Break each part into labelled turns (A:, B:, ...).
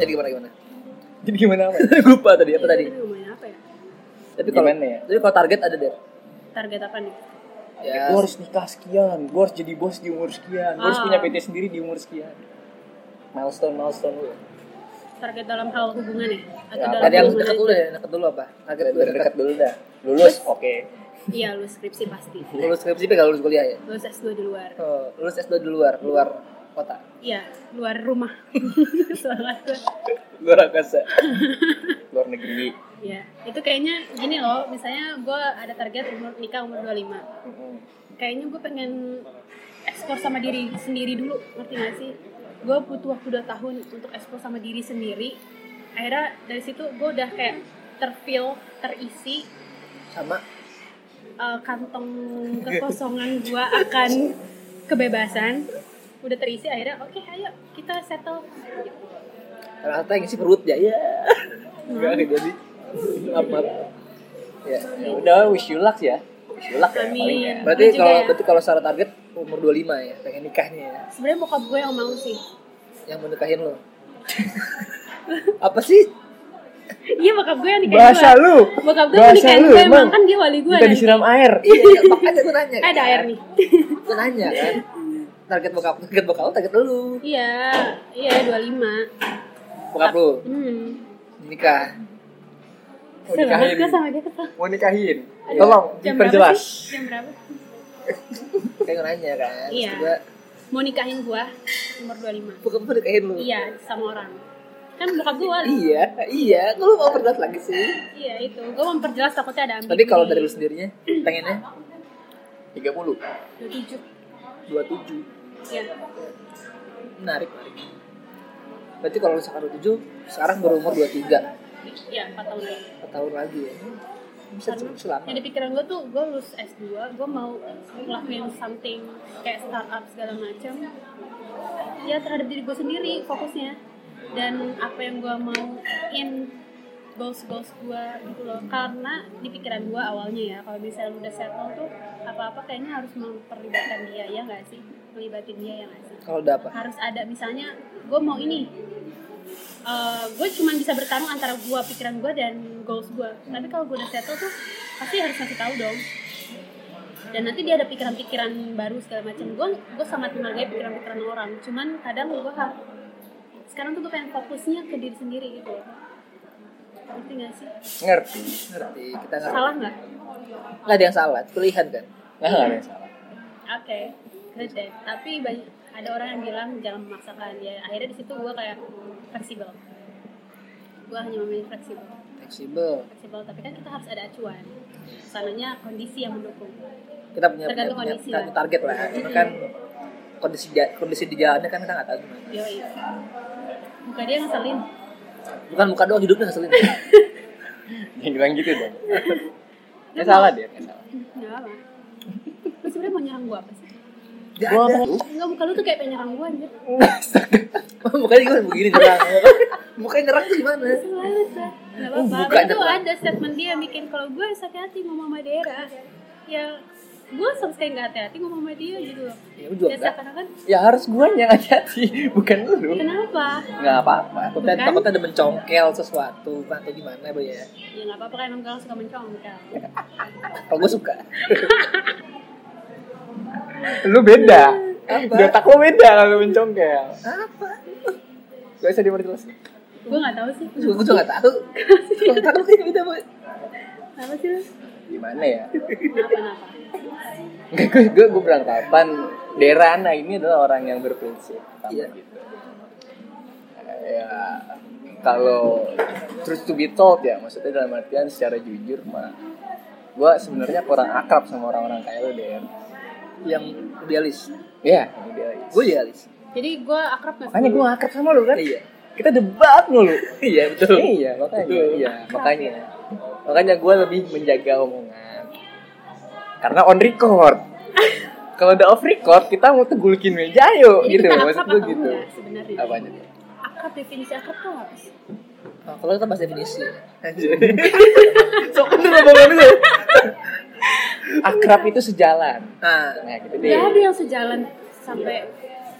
A: tadi Eh, gimana gimana?
B: Jadi gimana? Lupa tadi apa tadi?
C: Lumayan apa ya?
B: Tapi kalau
A: Gimana ya?
B: Tapi kalau target ada deh.
C: Target apa nih?
A: Ya,
B: Gue harus nikah sekian, gue harus jadi bos di umur sekian, gue harus
C: Ah.
B: punya PT sendiri di umur sekian. Milestone, milestone lu.
C: Target dalam hal hubungan ya? Atau
B: Ya,
C: dalam
A: ada yang
C: hubungan
A: dekat
C: aja?
A: dulu ya, dekat dulu apa? Target dulu dekat
B: Deket dulu dah. Lulus, oke.
C: Iya, lu skripsi pasti.
A: lulus skripsi apa nggak lulus kuliah ya?
C: Lulus S2 di luar.
A: Oh, lulus S2 di luar, luar kota.
C: Iya, luar rumah. Soalnya gua-
B: Luar angkasa. Luar negeri.
C: Iya, itu kayaknya gini loh, misalnya gue ada target umur nikah umur 25 Kayaknya gue pengen ekspor sama diri sendiri dulu, ngerti gak sih? Gue butuh waktu 2 tahun untuk ekspor sama diri sendiri Akhirnya dari situ gue udah kayak terfill, terisi
A: Sama
C: eh, kantong kekosongan gue akan kebebasan Udah terisi akhirnya, oke ayo kita settle
A: ternyata yang ngisi perut ya. Iya.
B: Enggak jadi. Amat. Ya, ya udah wish you luck ya. Wish you luck ya
C: Amin.
B: paling ya.
A: Berarti
C: Juga
A: kalau
C: ya.
A: berarti kalau secara target umur 25 ya, pengen nikahnya ya.
C: Sebenarnya bokap gue yang mau sih
A: Yang menikahin lo. apa sih?
C: Iya bokap gue yang nikahin
B: Bahasa
C: gue
B: lu.
C: Bokap gue
B: Bahasa
C: nikahin
B: lu
C: gue
B: emang.
C: emang kan dia wali gue
B: Kita
C: nanti.
B: disiram air.
A: Iya, makanya gue nanya.
C: Eh, ada air nih.
A: Gue nanya kan. Target bokap, target bokap lo, target lu.
C: Iya, iya 25.
A: Bokap lu
C: Hmm.
A: nikah.
B: Mau
C: Seru banget
B: nikahin.
C: gue sama dia ketemu.
B: Mau nikahin. Oh,
C: Aduh,
B: Tolong
C: jam berapa
B: diperjelas.
C: sih? Jam berapa?
A: Kayak gue nanya kan. Terus
C: Iya.
A: Gue
C: Mau nikahin gue umur 25.
A: bokap lu nikahin lu.
C: Iya, sama orang. Kan bokap gue wali.
A: Iya, iya. Kok lu mau perjelas lagi sih?
C: Iya itu. Gue memperjelas takutnya ada ambil.
A: Tapi kalau dari lu sendirinya, pengennya 30,
C: 27.
A: 27.
C: Iya.
A: Menarik, menarik. Berarti kalau misalkan 27, sekarang berumur 23
C: Iya, 4 tahun lagi.
A: Empat tahun lagi ya. Bisa cukup selama.
C: Jadi pikiran gue tuh, gue lulus S2, gue mau ngelakuin something kayak startup segala macam. Ya terhadap diri gue sendiri fokusnya dan apa yang gue mau in goals goals gue gitu loh karena di pikiran gue awalnya ya kalau misalnya lu udah settle tuh apa apa kayaknya harus memperlibatkan dia ya nggak sih melibatin dia ya nggak sih
A: Kalau udah apa?
C: harus ada misalnya gue mau ini gue cuman bisa bertarung antara gue pikiran gue dan goals gue tapi kalau gue udah settle tuh pasti harus kasih tahu dong dan nanti dia ada pikiran-pikiran baru segala macam gue gue sangat menghargai pikiran-pikiran orang cuman kadang gue har- sekarang tuh gue pengen fokusnya ke diri sendiri gitu loh ngerti gak sih
B: Ngerti.
A: Ngerti, kita ngerti.
C: salah nggak
A: Nggak ada yang salah, pilihan kan.
B: Nah, nggak ada yang salah.
C: Oke, good deh. Tapi banyak ada orang yang bilang jangan memaksakan ya. Akhirnya di situ gue kayak fleksibel. Gue hanya memilih fleksibel.
A: Fleksibel.
C: Fleksibel, tapi kan kita harus ada acuan. Sananya kondisi yang mendukung.
A: Kita punya, punya,
C: Tergantung
A: punya,
C: kondisi
A: punya
C: lah. Hmm.
A: target lah. Cuma kan kondisi ja- kondisi di jalannya kan kita nggak tahu gimana.
C: Yoi. Muka dia ngeselin.
A: Bukan bukan doang hidupnya ngeselin.
B: Jangan bilang gitu dong. Nggak salah dia. nggak salah.
C: Gak apa. Lu sebenernya mau nyerang gue apa sih?
A: Nggak
B: Gua
A: ada.
B: apa?
C: Enggak, muka lu tuh kayak pengen nyerang gue anjir.
A: Mukanya gimana begini nyerang. Mukanya nyerang tuh gimana?
C: Selalu sah. Gak apa-apa.
A: Bukan,
C: Itu
A: apa.
C: ada statement dia yang bikin kalau gue hati-hati ngomong sama Dera. Ya, gue sama sekali gak hati-hati ngomong sama dia gitu loh.
A: Ya lu juga
C: Ya,
A: enggak.
C: seakan-akan
B: Ya harus gue yang hati-hati, bukan lu.
C: Kenapa?
B: Nggak apa-apa.
A: Takutnya,
C: Bukan.
A: takutnya ada mencongkel sesuatu kan, atau gimana bu ya?
C: Ya nggak apa-apa kan emang kalau suka kan? mencongkel.
A: Kalau gue suka.
B: Lu beda.
A: Apa?
B: Di otak lu beda kalau mencongkel.
A: Apa?
B: Gak usah diperjelas.
C: Gue nggak tahu sih.
A: Gue juga nggak tahu. Kalau nggak tahu kayak gitu bu.
C: Apa sih? lu?
B: Gimana ya?
C: Kenapa-napa?
B: Nggak, gue, gue, gue beranggapan Derana ini adalah orang yang berprinsip. Pertama
A: Iya.
B: gitu. Eh, Ya, kalau terus to be told ya, maksudnya dalam artian secara jujur mah gue sebenarnya kurang akrab sama orang-orang kayak lo Der.
A: Yang idealis.
B: Iya, ini dia.
A: Gue idealis.
C: Jadi gue akrab nggak
B: Makanya gue akrab sama lu kan?
A: Iya.
B: Kita debat mulu.
A: Iya betul.
B: iya, makanya.
A: Betul.
B: Iya, makanya. Makanya gue lebih menjaga omongan. Karena on record. Kalau udah off record, kita mau tegulkin meja ayo
C: Jadi
B: gitu.
C: kita
B: Maksud
C: akrab
B: gue
C: atau
B: gitu.
C: enggak sebenarnya?
B: Apanya?
C: Akrab definisi akrab tuh apa sih?
A: Nah, kalau kita bahas definisi.
B: Sok kan? bener omongan lu. Akrab itu sejalan.
A: Nah,
B: Nah, gitu deh.
C: Gak ada yang sejalan sampai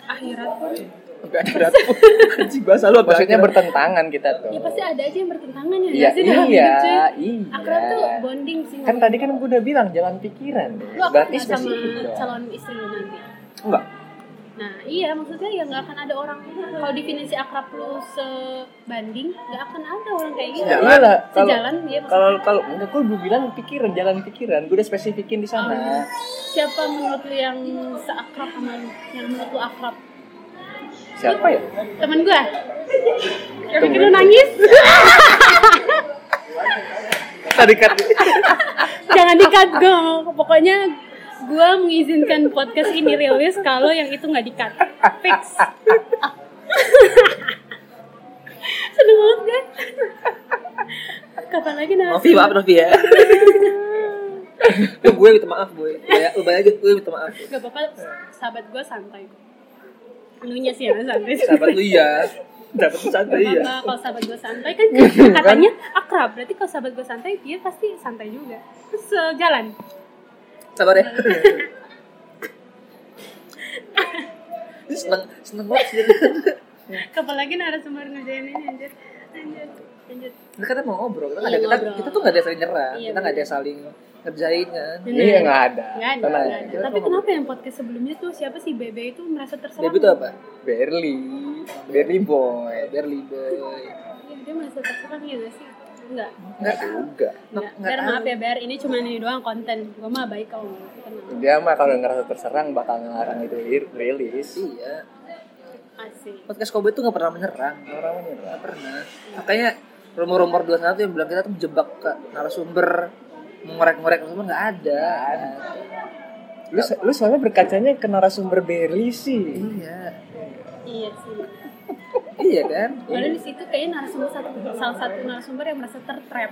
C: akhirat pun.
A: Sampai akhirnya aku anjing bahasa lu sampai
B: Maksudnya
A: akhirnya.
B: bertentangan kita tuh.
C: ya pasti ada aja yang bertentangan ya
B: Iya,
C: nggak sih dalam
B: iya,
C: hidup cuy
B: iya.
C: akrab tuh bonding sih
B: Kan tadi kan gue udah bilang jalan pikiran.
C: lu akan
B: Berarti
C: nggak sama
B: spesifik gitu dong.
C: calon istri lu nanti
A: enggak.
C: nah iya maksudnya ya nggak akan ada orang kalau definisi akrab lu sebanding nggak akan ada orang kayak gitu
A: Sejalan.
B: Iya lah, kalau
C: sejalan ya maksudnya
B: kalau kalau enggak gue bilang pikiran jalan pikiran gue udah spesifikin di
C: Oh.
B: sana
C: siapa menurut lu yang seakrab sama lu yang menurut lu akrab
B: siapa ya
C: temen gua yang bikin lu
B: Temen.
C: nangis
B: tadi kan
C: jangan dikat gue pokoknya gue mengizinkan podcast ini rilis kalau yang itu nggak dikat fix seneng banget kan kapan lagi nanti
A: Novi maaf Novi ya. Lu gue minta maaf gue. Bayar lu bayar aja gue minta maaf.
C: gak apa-apa sahabat gue santai menunya sih ya santai
A: Sahabat lu iya. Dapat santai
C: Gak
A: iya.
C: apa-apa, kalau sahabat gue santai kan katanya akrab berarti kalau sahabat gue santai dia pasti santai juga terus eh, sejalan
A: Sabar ya. seneng seneng banget sih.
C: kapan lagi narasumber ngerjain ini anjir lanjut lanjut
A: Nah, kita mau ngobrol, kita,
C: Iya,
A: nggak ada, kita,
C: ngobrol.
A: kita tuh nggak ada saling nyerah,
C: Iya,
A: kita nggak ada saling ngerjain kan.
C: Bener.
B: iya nggak ada
C: Nggak ada,
B: Tenang,
C: nggak ada.
B: kita
C: Tapi
B: cuma-
C: kenapa yang podcast sebelumnya tuh siapa sih Bebe itu merasa terserang?
A: Debbie tuh apa?
B: Berli Berli boy
A: Berli boy.
C: Iya, dia merasa terserang ya gak sih? Enggak.
A: Nggak
B: juga
C: Enggak.
A: nggak
C: Ber,
A: tahu.
C: maaf ya Ber, ini cuma ini doang konten. Gua mah baik kau. Tenang.
B: dia mah kalau ngerasa terserang bakal ngelarang itu lir- rilis
A: Iya.
C: Asik.
A: Podcast Kobe tuh nggak pernah menyerang,
B: orang menyerang
A: nggak pernah. Makanya rumor-rumor 21 yang bilang kita tuh menjebak ke narasumber, mengorek-ngorek narasumber nggak ada.
B: lu se- lu soalnya berkacanya ke narasumber Berli sih
A: Iya,
C: Iya sih.
A: iya kan?
C: Padahal di situ kayaknya narasumber satu, salah satu narasumber yang merasa tertrap,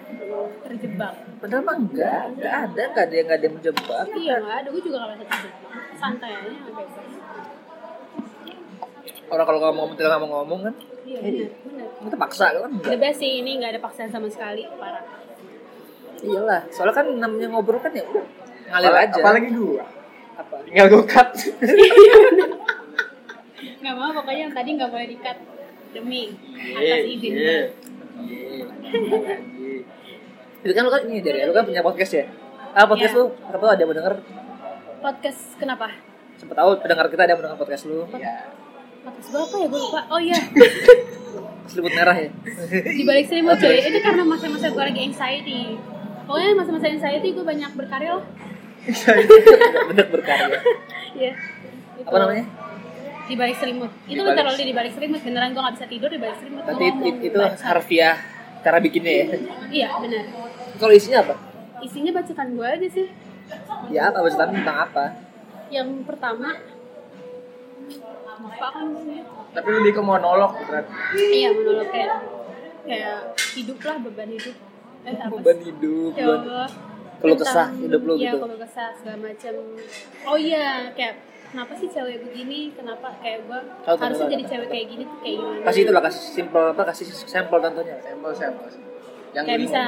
C: terjebak.
A: Padahal mah nggak, nggak ada, nggak ada yang nggak ada yang menjebak.
C: Iya nggak ada, gue juga gak merasa terjebak. Santai aja nggak apa-apa.
A: Orang kalau ngomong tidak nggak mau ngomong kan,
C: Iya benar, benar.
A: kita paksa kan? Nggak.
C: The best sih ini nggak ada paksaan sama sekali, parah.
A: Iyalah, soalnya kan namanya ngobrol kan ya udah, ngalir
B: Apal-
A: aja. Iya,
B: apalagi gua
A: apa?
B: tinggal gue cut
C: Gak mau pokoknya yang tadi gak boleh dikat demi atas izin.
A: Iya. Iya. Apalagi. Itu kan lu kan ini dari lu kan punya podcast ya? Ah podcast
C: Iya.
A: lu, siapa tahu ada yang mendengar
C: Podcast kenapa?
A: siapa tahu pendengar kita ada yang mendengar podcast lu.
B: ya
C: Podcast berapa ya gue lupa. Oh iya,
A: Selimut merah ya.
C: di balik selimut cuy. Itu karena masa-masa gue lagi anxiety. Pokoknya masa-masa anxiety gue banyak berkarya lah.
A: Bener berkarya.
C: Iya. Gitu.
A: Apa namanya?
C: Di balik selimut.
B: Di
C: Itu
B: balik-
C: literally di balik selimut. Beneran gue gak bisa tidur di balik selimut.
A: Berarti
C: Gua
A: itu,
C: ngomong,
A: itu
C: baca.
A: harfiah cara bikinnya ya.
C: Iya benar.
A: Kalau isinya apa?
C: Isinya bacaan gue aja sih.
A: Ya apa bacaan tentang apa?
C: Yang pertama apa kan namanya?
B: tapi lebih ke monolog berarti
C: Iya menurut kayak kayak hidup lah beban hidup. Eh, apa sih?
A: Beban hidup.
C: Ya
A: beban-
C: Allah.
A: Keluh kesah
C: Tentang-
A: hidup lu
C: iya,
A: gitu.
C: keluh kesah segala macam. Oh iya, kayak kenapa sih cewek begini? Kenapa kayak gua
A: Tahu, tahu,
C: harusnya
A: tahu,
C: jadi
A: tahu,
C: cewek kayak gini tuh kayak gimana?
A: Kasih itulah kasih simpel apa kasih sampel contohnya.
B: sampel sampel yang
C: Kayak
B: bingung.
C: bisa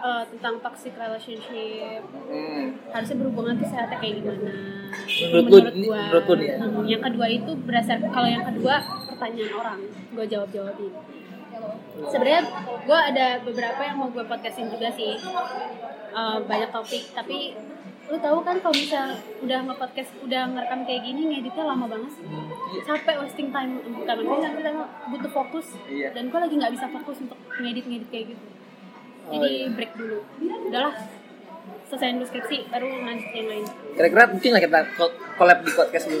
C: eh, tentang toxic relationship
B: Hmm.
C: harusnya berhubungan tuh sehatnya kayak gimana
A: Menurut lu- ini
C: gua.
A: menurut lu nih ya?
C: Hmm, yang kedua itu berdasar kalau yang kedua pertanyaan orang gue jawab
A: Iya.
C: jawabin sebenarnya gue ada beberapa yang mau gue podcastin juga sih Eh, banyak topik tapi lu tahu kan kalau bisa udah nge-podcast udah ngerekam kayak gini ngeditnya lama banget sih
A: Hmm.
C: capek wasting time bukan wasting
A: Iya.
C: time kita butuh fokus
B: Iya.
C: dan gue lagi nggak bisa fokus untuk ngedit ngedit kayak gitu
A: Oh,
C: jadi
A: iya.
C: break dulu udahlah selesaiin deskripsi baru lanjut yang lain
A: Kira-kira mungkin lah kita kol- collab di podcast lu.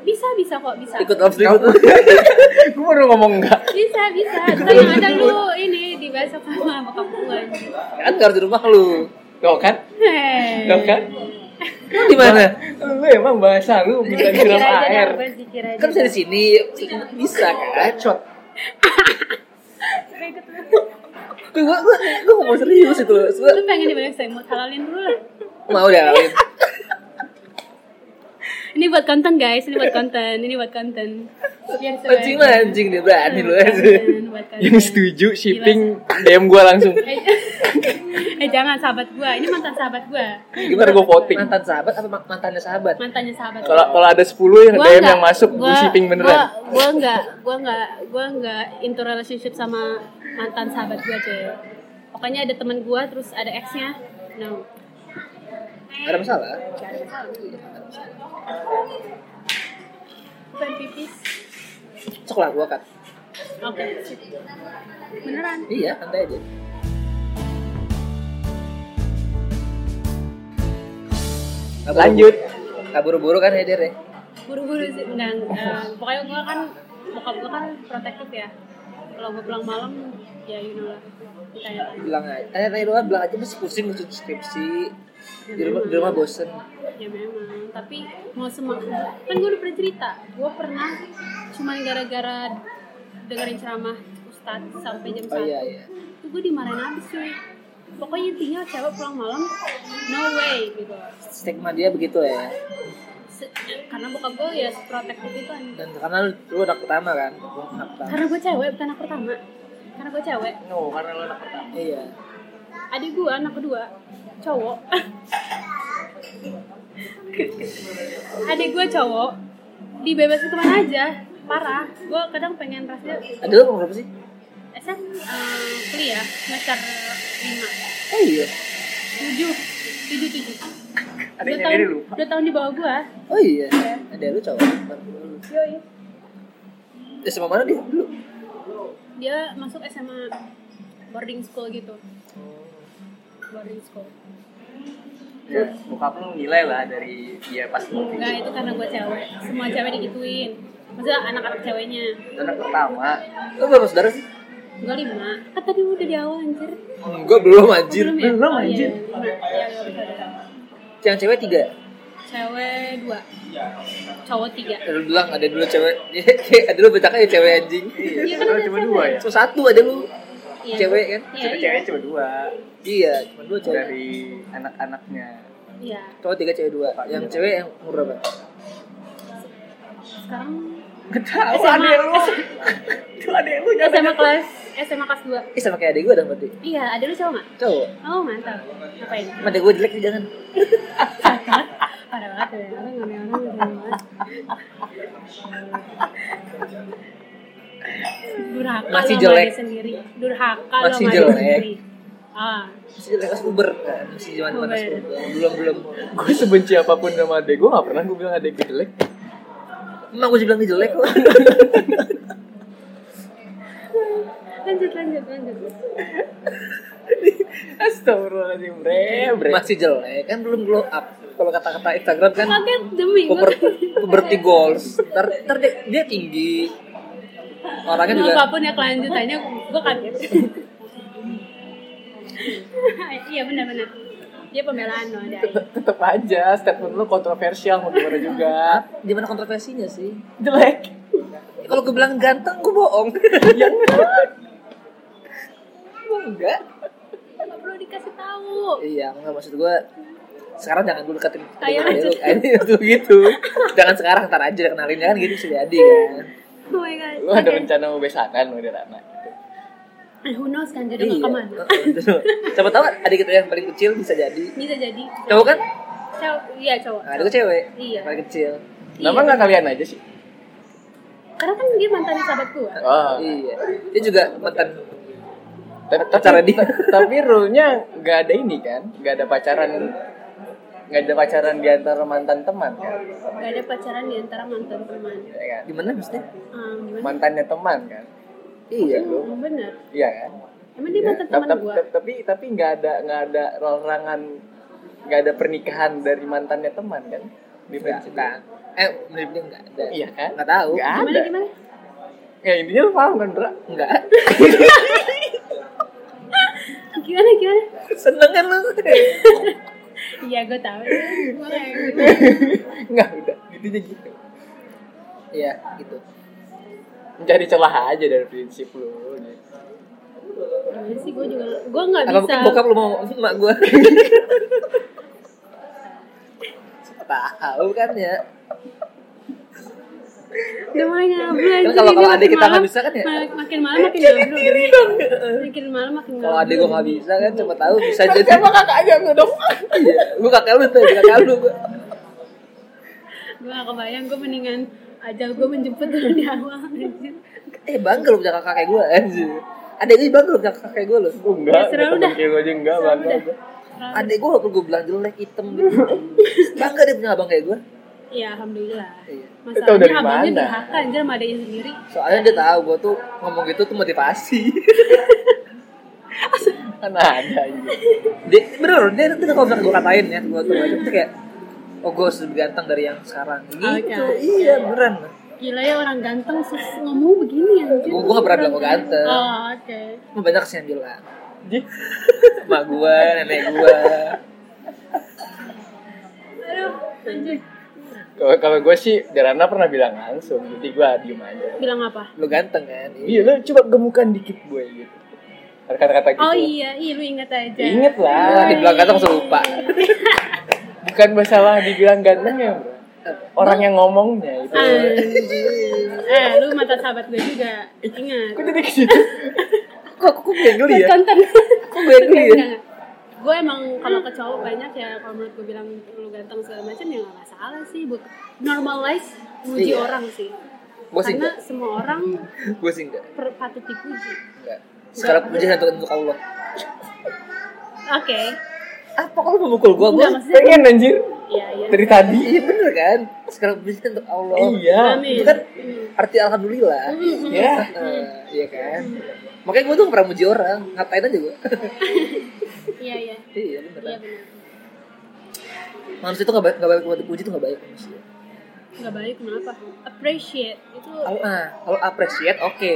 C: bisa bisa kok bisa
A: Ikut off selimut lu.
B: gue Eh, baru ngomong enggak
C: bisa bisa ntar yang ada lu ini dibahas sama bokap gue
A: Kan harus di rumah lu.
B: Tuh kan
C: hei
B: Tuh kan
A: Lu di mana?
B: Lu emang bahasa lu bisa
C: Zikir
B: siram
C: aja dah,
B: air
C: gue zikir aja
A: Kan bisa di sini, bisa kan?
B: Bacot
C: Suka ikut lu.
A: Gue gue gue gue ngomong serius itu loh. Gua
C: Lu pengen dibalik selimut halalin dulu lah
A: mau deh Alin.
C: ini buat konten guys ini buat konten ini buat konten Biar sesuai.
A: anjing lah anjing dia berani lu
C: Buat konten, buat konten.
B: yang setuju shipping DM gue langsung
C: eh eh, jangan sahabat gua ini mantan sahabat gua
B: gimana gue voting
A: mantan sahabat apa ma- mantannya sahabat
C: mantannya sahabat
B: kalau kalau ada 10 yang
C: Gua
B: DM
C: nggak-
B: yang masuk gue
C: gua-
B: shipping
C: gua,
B: beneran
C: gua nggak gua nggak gua nggak into relationship sama mantan sahabat gua cuy pokoknya ada teman gua terus ada ex-nya no
A: ada masalah
C: bukan pipis
A: cek lah gua kan
C: oke beneran
A: iya santai aja Nggak buru-
B: lanjut
A: nggak buru-buru kan ya Der ya
C: buru-buru sih enggak eh, pokoknya gua kan bokap gua kan protektif ya kalau gua pulang malam ya you know lah ya, ditanya
A: bilang aja tanya tanya doang bilang aja masih pusing ngurusin skripsi di rumah di rumah bosen
C: ya memang tapi mau semangat kan gue udah pernah cerita gue pernah cuman gara-gara dengerin ceramah ustadz sampai jam
A: oh
C: satu
A: iya iya
C: itu gue dimarahin habis cuy pokoknya intinya cewek pulang malam no way gitu
A: stigma dia begitu ya
C: Se- karena bokap gue ya protektif itu kan
A: dan karena lu, lu anak pertama kan Lu anak pertama
C: karena gue cewek bukan anak pertama karena gue cewek
B: no karena lo anak pertama
A: iya
C: adik gue anak kedua cowok adik gue cowok dibebasin kemana aja parah gue kadang pengen rasanya
A: ada lu berapa sih
C: eh Seth, eh, kuliah semester lima
A: oh iya
C: tujuh tujuh tujuh dua
B: Adiknya
C: tahun
B: diri lupa.
C: dua tahun di bawah gue
A: oh iya ada lu cowok
C: yoi
A: ya sama mana dia dulu
C: dia masuk SMA boarding school gitu boarding school
B: ya bokap lo nilai lah dari dia pas voting
C: enggak itu karena gue cewek semua cewek digituin maksudnya anak-anak ceweknya
B: anak pertama
A: lu berapa saudara sih
C: Gue lima. Kan tadi udah di awal anjir.
A: enggak belum anjir
C: Belum ya?
B: belum,
C: Oh, iya,
B: anjir.
C: lima. Iya, iya, iya.
A: yang cewek tiga
C: Cewek dua. Cowok tiga.
A: ya, lu bilang ada dulu cewek ada lu bercakap ya cewek anjing
C: Iya, kan
B: Sebenarnya
C: ada
B: cuma
C: cewek.
B: dua ya
A: so satu ada lu
C: Iya.
A: cewek kan
C: Iya,
B: Cuma
C: iya.
B: cewek cuma dua
A: iya cuma dua cewek
B: dari anak-anaknya
C: Iya.
A: cowok tiga cewek dua yang cewek yang umur berapa
C: Sekarang
B: Gak tau
C: SMA.
B: adek lu Itu adek lu jangan
C: SMA kelas SMA kelas dua.
A: Ih sama kayak adik gue dong berarti
C: Iya, ada lu cowok nggak?
A: Cowok
C: Oh mantap. Ngapain?
A: Sama adik gue jelek nih jangan
C: Parah banget ya. Orang nggak ada orang nggak ada banget. Durhaka
A: Masih
C: lo sama
A: jelek.
C: diri sendiri. Durhaka lo
A: Masih
C: sama diri
A: jelek.
C: sendiri. Ah,
A: Masih jelek pas uber kan Masih zaman mana
C: Uber.
A: Belum belum
B: Gue sebenci apapun sama adek gue gak pernah gue bilang adek gue jelek
A: Emang gue bilang dia jelek kok
C: lanjut lanjut lanjut.
B: Astagfirullahaladzim bre bre
A: Masih jelek kan belum glow up Kalau kata-kata Instagram kan
C: Kaget demi gue.
A: puber, Puberty goals Ntar, ntar dia, dia tinggi Orangnya juga
C: apapun ya kelanjutannya gue kaget iya benar-benar dia pembelaan loh ada Ayu.
B: Tetep aja statement lu kontroversial mau gimana juga
A: Gimana kontroversinya sih
B: Jelek
A: Kalau gue bilang ganteng gue bohong
B: Ya enggak.
A: Emang Enggak
C: nggak perlu dikasih tahu
A: Iya enggak maksud gue sekarang jangan dulu deketin
C: Ayo,
A: deketin
C: lanjut.
A: lu. Ayo, itu gitu jangan sekarang ntar aja kenalinnya kan gitu bisa jadi kan
C: oh my god
B: Lu ada
C: Oke.
B: rencana mau besanan mau di gitu.
A: Iya.
B: Rana
C: Eh, who knows kan jadi nggak kemana
A: Siapa tahu adik kita yang paling kecil bisa jadi
C: bisa jadi
A: cowok kan?
C: cowok iya cowok
A: Nah, adik gue cewek.
C: Iya.
A: Yang Paling kecil.
B: Kenapa gak kalian aja sih?
C: karena kan dia mantan sahabat gue
B: Oh.
A: Iya. Dia juga mantan
B: Tapi,
A: Pacaran dia.
B: ta- tapi rule-nya nggak ada ini kan? Nggak ada pacaran nggak ada pacaran di antara mantan teman kan?
C: gak ada pacaran di antara mantan teman
B: Ya kan?
A: di mana maksudnya?
C: Ah, gimana
B: Mantannya teman kan?
A: Iya.
C: Hmm, bener
B: Iya kan?
C: emang dia mantan
B: Tap-
C: teman
B: tap-
C: gue
B: tap- Tapi tapi nggak ada nggak ada larangan nggak ada pernikahan dari mantannya teman kan? Di prinsip.
A: Enggak. Eh, menurut dia enggak ada.
B: Iya kan?
A: Enggak tahu.
B: Nggak
C: gimana
B: ada.
C: gimana
B: Ya intinya lu paham kan, Dra?
A: Enggak.
C: gimana gimana
A: Seneng kan lu?
C: iya gue tahu Gua kayak gitu.
B: Nggak udah. Intinya gitu.
A: Iya, gitu.
B: Mencari celah aja dari prinsip lu. gitu.
C: Gimana sih gue juga gue nggak
A: Apa
C: bisa
A: bokap lu mau emak gua? tahu kan ya
C: namanya belanja
A: Kan kalau-
C: ini
A: kalau
C: makin
A: adek kita nggak
C: malam-
A: bisa kan ya? Iya.
C: ma- makin malam makin jomblo makin malam makin
A: kalau adek gue nggak bisa kan coba tahu bisa
B: Kan
A: jadi
B: siapa kakaknya gue dong
C: Ya,
A: Iya, gue kakak lu tuh kakak lu gua.
C: gue gak kebayang gue mendingan ajal gue menjemput dari awal anjir
A: eh bangga lu punya kakak kayak gue anjir adek gue bangga lu punya kakak kayak gue lu
B: Gue enggak,
C: Terserah lu dah.
B: kayak gue aja enggak
C: Terserah lu
B: bangga
C: dah.
B: gue
A: adek gue walaupun gue bilang jelek hitam gitu bangga dia punya abang kayak gue
C: ya alhamdulillah
A: Iya.
B: Itu dari
C: masalahnya abangnya
B: mana?
C: durhaka anjir sama adanya sendiri
A: soalnya dia tahu gue tuh ngomong gitu tuh motivasi
B: Kan ada aja
A: dia bener dia tuh kalau misalnya gue katain ya gue tuh aja tuh kayak oh gue harus lebih ganteng dari yang sekarang gitu
C: Oke.
A: iya beneran
C: gila ya orang ganteng sus ngomong begini anjir
A: gue gue gak pernah bilang gue ganteng
C: oh oke
A: Emang banyak sih yang bilang
B: Jih.
A: mak gue nenek gue
C: aduh anjir
B: Kalau kalau gue sih Derana pernah bilang langsung Jadi gue diem aja
C: bilang apa
A: lu ganteng kan Iya.
B: Iya lu coba gemukan dikit gue gitu Ada Kata-kata gitu
C: Oh iya, iya lu inget aja.
B: Ingat lah
A: Iya. dibilang ganteng suruh lupa.
B: Bukan masalah dibilang ganteng ya bro Orang yang ngomongnya itu
C: Ah. Anjir. Eh, lu mata sahabat gue juga. Ingat.
B: Kok jadi ke situ?
A: kok kok gue yang geli ya
C: Konten.
A: kok gue yang geli ya
C: Gue emang kalau ke cowok banyak ya kalau menurut gue bilang lu ganteng segala macam ya nggak masalah sih. Bu normalize
A: Iya.
C: muji orang sih.
A: gue sih
C: Karena
A: enggak
C: semua orang
A: gue sih enggak
C: per- patut dipuji.
A: enggak sekarang pujian untuk untuk Allah Ah,
C: Oke.
A: apa kalau memukul gue gue
C: Enggak maksudnya.
B: Pengen anjir
C: Iya, iya.
B: Dari tadi
A: iya bener kan sekarang pujian untuk Allah
B: Iya
C: Amin.
A: Itu kan-
C: Hmm.
A: arti alhamdulillah
C: Mm-hmm.
B: Ya
A: Eh, iya kan makanya gue tuh nggak pernah muji orang ngatain aja gue
C: Iya, iya.
A: iya
C: Iya
A: bener
C: benar.
A: manusia tuh nggak baik nggak baik buat dipuji tuh nggak baik manusia
C: Gak baik kenapa? Appreciate itu
A: kalau ah kalau appreciate oke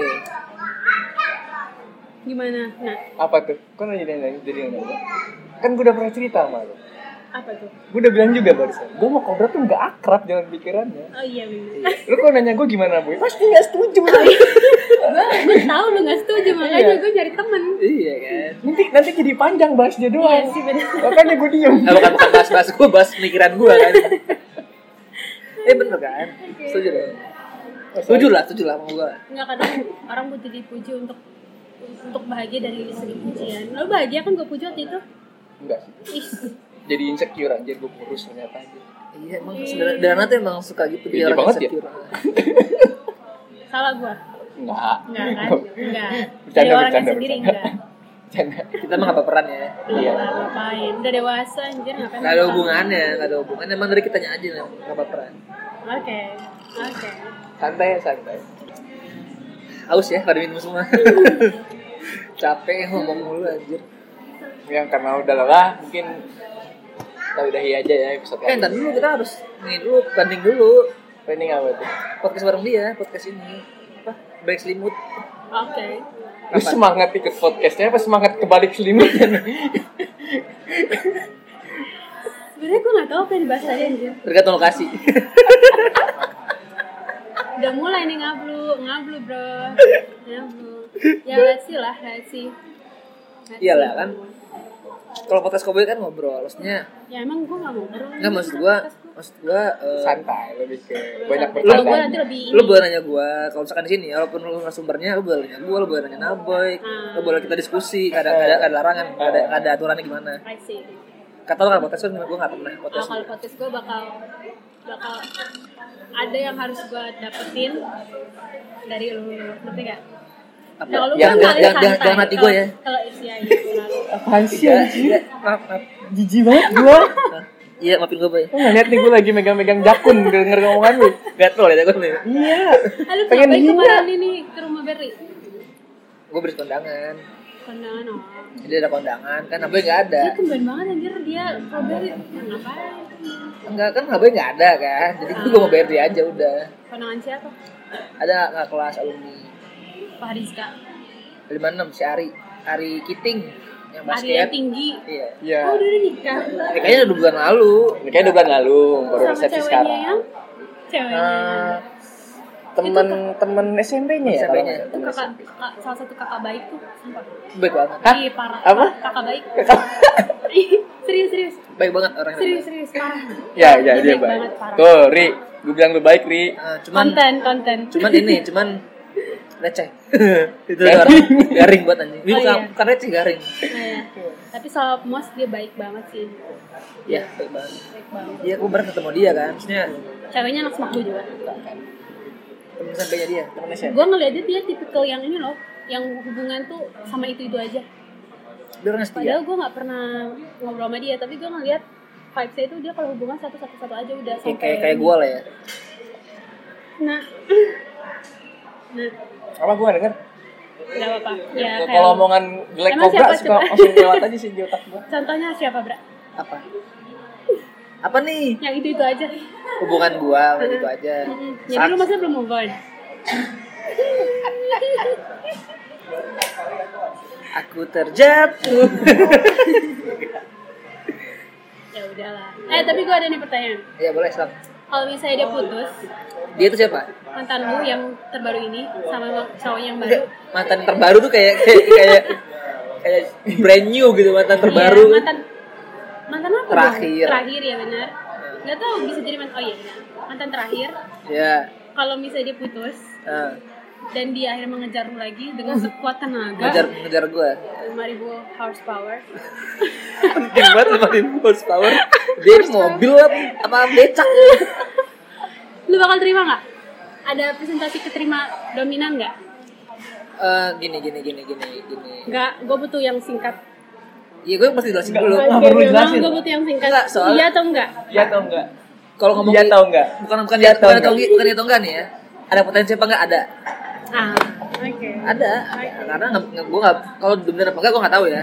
C: gimana? Nah,
B: Apa tuh? Kok nanya nanya jadi nanya gua? Kan gue udah pernah cerita sama lu
C: apa tuh?
B: Gue udah bilang juga barusan Gue mau kobra tuh gak akrab jalan pikirannya
C: Oh iya benar.
B: Lu kok nanya gue gimana boy? Pasti gak setuju lah
C: gue gue tahu lu nggak setuju makanya gue nyari temen
A: iya kan
B: nanti nanti jadi panjang bahas dia
C: iya
B: doang
C: sih benar
B: makanya gue diem
A: Nah, bukan bukan bahas bahas gue, bahas pemikiran gue kan. eh bener kan? Setuju deh. Setuju lah, setuju lah sama gue.
C: nggak kadang orang butuh dipuji untuk untuk bahagia dari segi pujian lo bahagia kan gue puji waktu itu
B: enggak sih
C: ih
B: jadi insecure anjir gue kurus ternyata aja
A: Iya emang sederhana sederhana tuh emang suka gitu dia
B: Iya
A: orang
B: banget ya?
A: insecure.
C: salah gue
B: enggak
C: nggak kan nggak dari
B: Bercanda,
C: orangnya
B: bercanda,
C: sendiri
B: bercanda.
C: nggak
B: Bercanda.
A: Kita mah apa peran ya?
B: Iya.
C: Nggak ngapain udah dewasa anjir
A: Gak
C: ngapain
A: ada
C: ngapain.
A: hubungannya, gak ada hubungannya. Emang dari kitanya aja nih, gak apa peran.
C: oke oke
B: santai santai
A: Aus ya, pada minum semua. Capek ya, ngomong mulu anjir.
B: yang Ya, karena udah lelah mungkin kita udahi aja ya episode
A: Eh, ntar
B: kali
A: dulu kita harus ini dulu, banding dulu.
B: training apa tuh
A: Podcast bareng dia, podcast ini. Apa? Break selimut.
C: oke
B: lu
A: Apa?
B: semangat ikut podcastnya apa semangat kebalik selimut
C: sebenarnya gue nggak tahu apa yang dibahas tadi anjir
A: Tergantung lokasi.
C: udah mulai nih ngablu ngablu bro ngablu ya let's see lah let's see Let's see.
A: Iyalah, kan? Kalau podcast koboi kan ngobrol, harusnya
C: ya emang gue gak mau ngobrol
A: Enggak maksud gua, maksud gua eh,
B: santai lebih ke banyak
C: kalau gue nanti
B: bercanda
C: lebih ini
A: lu boleh nanya gua kalau misalkan di sini ya, walaupun lu narasumbernya lu boleh nanya gua, lu boleh nanya Naboy,
C: Hmm.
A: lu boleh kita diskusi, gak ada gak ada, gak ada larangan, gak ada, gak ada aturannya gimana.
C: I see.
A: Kata lu kan podcast kan gua gak pernah
C: Ah,
A: podcast.
C: kalau podcast gue bakal bakal ada yang harus gue dapetin dari lu ngerti gak?
A: Apa?
C: Nah, lu
A: Yang
C: kan
A: jangan jangan
C: paling
A: jangan
C: santai.
A: jangan hati gua ya.
C: Kalau- iya, Kalau isi aja selalu.
B: apaan sih
A: Iya,
B: anjir?
A: iya, maaf, maaf.
B: jijik banget gue
A: Hah? Iya, maafin gua, Boy.
B: lu nggak lihat nih gue lagi megang-megang jakun denger ngomongan lu
A: Gatel ya gua nih.
B: iya
C: Aduh,
B: Pengen
C: ngapain
B: hina.
C: kemarin ini ke rumah Berry?
A: Gua beri kondangan.
C: Kondangan oh.
A: Jadi ada kondangan, kan Naboy gak ada.
C: Dia tumben banget anjir dia kalau Berry ngapain?
A: Enggak kan Naboy gak ada kan. Jadi gua mau bayar dia aja udah.
C: Kondangan siapa?
A: Ada nggak kelas alumni
C: Pak Rizka.
A: 56 si Ari, Ari Kiting yang
C: Ada yang
A: basket.
C: tinggi.
A: Iya.
B: iya
C: Oh, udah udah nikah.
A: Ya, kayaknya udah bulan lalu.
B: Nikahnya dua bulan lalu, baru
C: Sama
B: resepsi
C: ceweknya ya?
B: sekarang.
C: yang? Ceweknya yang?
B: Eh, temen temen
A: SMP-nya.
B: SMP-nya ya kalau nggak salah,
C: itu
B: temen
C: kakak,
B: SMP.
C: kakak salah satu kakak baik tuh sumpah
A: Baik banget.
B: Hah?
C: Ih, parah
B: Apa?
C: parah, kakak baik serius serius
A: Baik baik banget orangnya
C: serius serius parah
B: Ya, ya dia
C: baik banget,
B: baik.
C: parah. Ya,
B: Tuh, Ri, gue bilang lu baik, Ri.
A: Ah, cuman
C: konten konten
A: cuman ini cuman receh itu
B: Garing.
A: garing garing buat anjing
C: Oh,
A: bukan,
C: iya.
A: bukan receh garing
C: Nah, ya. tapi soal Mos dia baik banget sih
A: ya baik banget
C: baik banget
A: Iya, aku baru ketemu dia kan. Maksudnya
C: ceweknya anak semak gue juga
A: temen sampainya dia, temennya siapa?
C: gue ngeliat dia, dia tipikal yang ini loh yang hubungan tuh sama itu itu aja
A: Dia orangnya setia.
C: padahal gue nggak pernah ngobrol sama dia tapi gue ngeliat vibesnya itu dia kalau hubungan satu satu satu aja udah
A: Ya,
C: sampai
A: kayak kayak gue lah ya.
C: nah nah
B: Apa gue denger?
C: nggak apa-apa ya
B: Kalau-
C: kayak
B: Kalau omongan jelek
C: Emang
B: kobra
C: siapa
B: suka
C: coba?
B: langsung lewat aja sih di otak gue.
C: contohnya siapa bra
A: Apa? Apa nih?
C: yang itu itu aja
A: Hubungan gua udah gitu aja.
C: Mm-mm. jadi
A: Saat,
C: lu masih belum move on
A: aku terjatuh.
C: ya udahlah eh tapi gue ada nih pertanyaan
A: ya boleh, Sam.
C: kalau misalnya dia putus
A: Dia itu siapa?
C: mantan lu yang terbaru ini sama cowok yang
A: Enggak,
C: baru
A: mantan terbaru tuh kayak kayak kayak, kayak brand new gitu mantan terbaru.
C: Iya, mantan mantan apa dong?
A: Terakhir.
C: terakhir ya benar nggak tahu bisa jadi mantan oh iya benar. mantan terakhir
A: Ya.
C: kalau misalnya dia putus
A: eh,
C: dan dia akhirnya mengejar lu lagi dengan sekuat tenaga
A: ngejar ngejar gua.
C: 5000 horsepower
A: Penting banget sama di horsepower. Dia ini mobil apa apa becak.
C: lu bakal terima nggak ada presentasi keterima dominan nggak
A: Eh, gini gini gini gini gini.
C: nggak gue butuh yang singkat
A: Iya gue mesti jelasin dulu.
B: Nggak perlu jelasin.
C: gue butuh yang singkat
A: Nggak, soalnya-
C: iya atau enggak
B: Iya atau enggak?
A: Kalau ngomong
B: Iya atau enggak?
A: bukan bukan
B: Iya
A: dia
B: atau
A: bukan atau
B: enggak?
A: enggak, bukan iya atau enggak nih ya. Ada potensi apa enggak ada?
C: ah oke
A: Ada. Karena nggak- nggak- gue nggak kalau bener apa enggak gue nggak tahu ya.